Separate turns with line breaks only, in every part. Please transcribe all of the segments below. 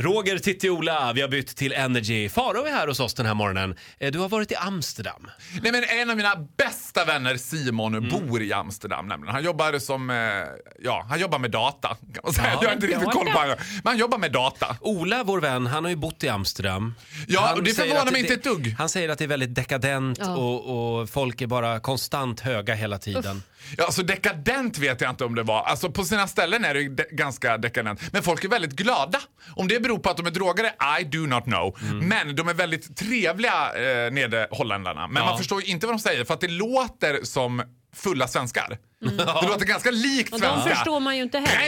Roger Tittiola, vi har bytt till Energy. Faro är här hos oss den här morgonen. Eh, Du har varit i Amsterdam.
Nej, men en av mina bästa vänner, Simon, bor i Amsterdam. Nämligen. Han jobbar som, eh, ja, han jobbar med data. Kan man säga.
Ja,
Jag har inte riktigt
ja,
koll på
ja.
honom. Men han jobbar med data.
Ola, vår vän, han har ju bott i Amsterdam.
Ja,
Han
och det
säger
förvånar
att
mig
det-
inte ett dugg.
Han säger att det är väldigt dekadent
Ja.
och, och folk är bara konstant höga hela tiden.
Ja, alltså dekadent vet jag inte om det var. Alltså på sina ställen är det ju de- ganska dekadent. Men folk är väldigt glada. Om det beror på att de är drogade, I do not know.
Mm.
Men de är väldigt trevliga eh, nere, holländarna. Men
Ja.
man förstår ju inte vad de säger för att det låter som fulla svenskar. Det låter ganska likt
Mm. Och de
svenska.
förstår man ju inte heller.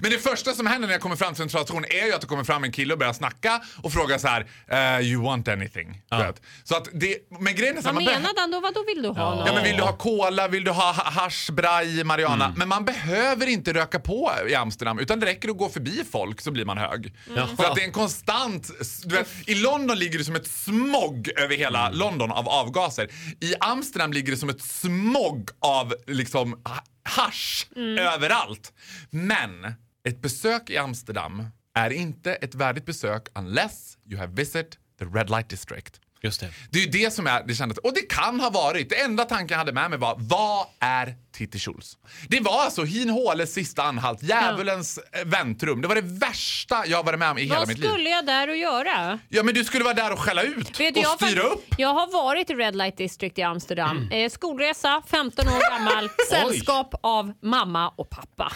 Men det första som händer när jag kommer fram till en transaktion är ju att det kommer fram en kille och börjar snacka och frågar så här, eh, you want anything? Du vet. Så att det, men grejen är så här,
Vad
man behöver-
menade han då? Vad då vill du ha något?
Ja, men vill du ha cola, vill du ha ha- hasch, braj, marijuana? Men man behöver inte röka på i Amsterdam utan det räcker att gå förbi folk så blir man hög. För att det är en konstant... Du vet, I London ligger det som ett smog över hela London av avgaser. I Amsterdam ligger det som ett smog av liksom ha- hasch överallt. Men ett besök i Amsterdam är inte ett värdigt besök unless you have visit the red light district.
Just det.
Det är ju det som är det kändes. Och det kan ha varit. Det enda tanken jag hade med mig var, vad är Titti Schultz? Det var alltså Hin Håles sista anhalt, djävulens eh, väntrum. Det var det värsta jag varit med om i hela
Vad
mitt liv.
skulle jag där och göra?
Ja men du skulle vara där och skälla ut
Vet du,
och
jag, har
styra
fakt-
upp. Mm.
jag har varit i Red Light District i Amsterdam. Eh, skolresa, 15 år gammal, sällskap av mamma och pappa.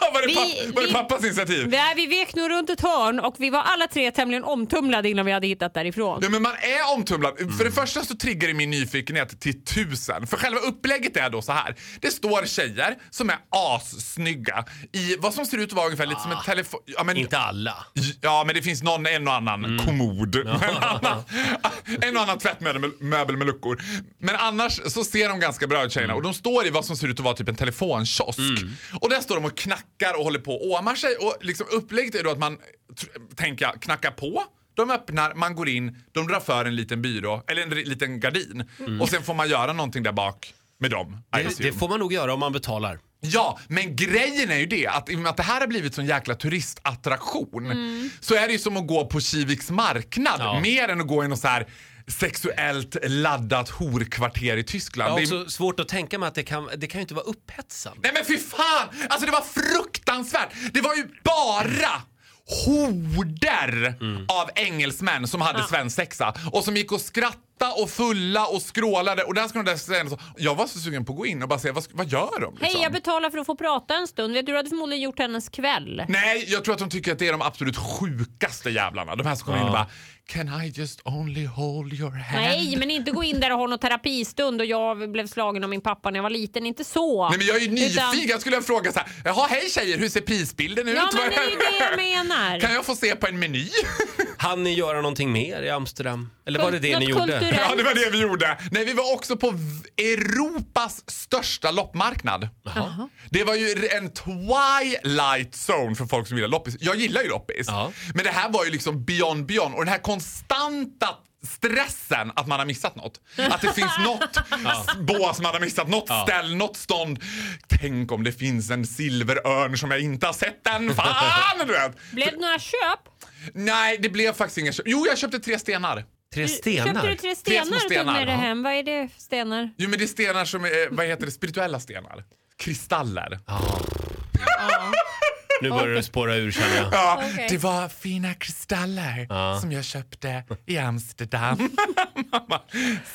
var, det
Vi-
papp- var det
vi-
pappas initiativ?
Nej, vi vek nog runt ett hörn och vi var alla tre tämligen omtumlade innan vi hade hittat därifrån.
Ja, men man är omtumlad. För det första så triggar det min nyfikenhet till tusen. För själva upplägget är då så här. Det står tjejer som är assnygga i vad som ser ut att vara ungefär lite som en telefon... Ja, men
Inte alla.
Ja, men det finns någon, en och annan
Mm.
kommod. En, annan, en och annan tvättmöbel med, möbel med luckor. Men annars så ser de ganska bra ut tjejerna
Mm.
och de står i vad som ser ut att vara typ en telefonkiosk. Och där står de och knackar och håller på och åmar sig. Och liksom upplägget är då att man, tr- tänker jag, knackar på. De öppnar, man går in, de drar för en liten byrå, eller en ri- liten gardin. Och sen får man göra någonting där bak med dem. I
Mm. Det, det
assume.
får man nog göra om man betalar.
Ja, men grejen är ju det att i och med att det här har blivit sån jäkla turistattraktion så är det ju som att gå på Kiviks marknad
Ja.
mer än att gå i något så här sexuellt laddat horkvarter i Tyskland.
Jag
Det
har
är-
också svårt att tänka mig att det kan, det kan ju inte vara upphetsande.
Nej men fy fan! Alltså det var fruktansvärt! Det var ju bara horder av engelsmän som hade svensexa och som gick och skrattade och fulla och skrålade och där ska de där säga så. Jag var så sugen på att gå in och bara se vad, vad gör de?
Hej,
liksom?
jag betalar för att få prata en stund. Vet du, du hade förmodligen gjort hennes kväll.
Nej, jag tror att de tycker att det är de absolut sjukaste jävlarna. De här som kommer in och bara Can I just only hold your hand?
Nej, men inte gå in där och ha någon terapistund och jag blev slagen av min pappa när jag var liten. Inte så.
Nej men jag är ju
Utan-
nyfiken. Jag skulle fråga så här. Jaha hej tjejer, hur ser prisbilden ut?
Ja, men det är ju
Vad-
det jag menar.
Kan jag få se på en meny?
Han ni göra någonting mer i Amsterdam? Eller var det det
Något
ni gjorde?
kulturellt.
ja, det var det vi gjorde. Nej, vi var också på v- Europas största loppmarknad. Det var ju en twilight zone för folk som gillar loppis. Jag gillar ju loppis.
Ja.
Men det här var ju liksom beyond beyond och den här konstanta stressen att man har missat något. Att det finns något bås man har missat, något ställ, något stånd. Tänk om det finns en silverörn som jag inte har sett än. Fan! Du vet.
Blev det några köp?
Nej, det blev faktiskt inga köp. Jo, jag köpte tre stenar.
Tre
Köpte du
stenar?
tre
små
stenar och tog
stenar,
med dig
ja.
hem? Vad är det för stenar?
Jo men det är stenar som är, vad heter det, spirituella stenar. Kristaller.
Ah.
Ja.
Nu börjar det spåra ur känner jag.
Okej.
Det var fina kristaller
Ah.
som jag köpte i Amsterdam. Mamma,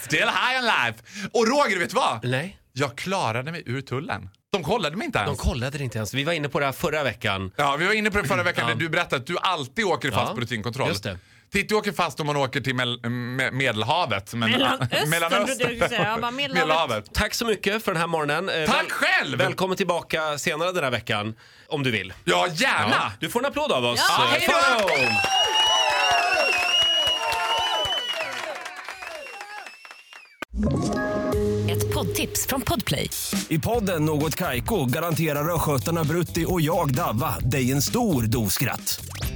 Still high on life. Och Roger, vet du vad?
Nej.
Jag klarade mig ur tullen. De kollade mig inte ens.
De kollade det inte ens. Vi var inne på det här förra veckan.
Ja, vi var inne på det förra veckan när du berättade att du alltid åker fast
Ja,
på rutinkontroll.
just det.
Titti åker fast om man åker till mel- me- Medelhavet. Men,
Mellanöstern, trodde jag
Mellanöstern.
skulle säga. Jag bara, Medelhavet.
Tack så mycket för den här morgonen. Eh,
Tack själv!
Välkommen tillbaka senare den här veckan, om du vill.
Ja, gärna!
Ja. Du får en applåd av oss.
Ja,
Eh,
hej då!
Farao!
Ett poddtips från Podplay.
I podden Något Kaiko garanterar östgötarna Brutti och jag, Davva, dig en stor dos skratt.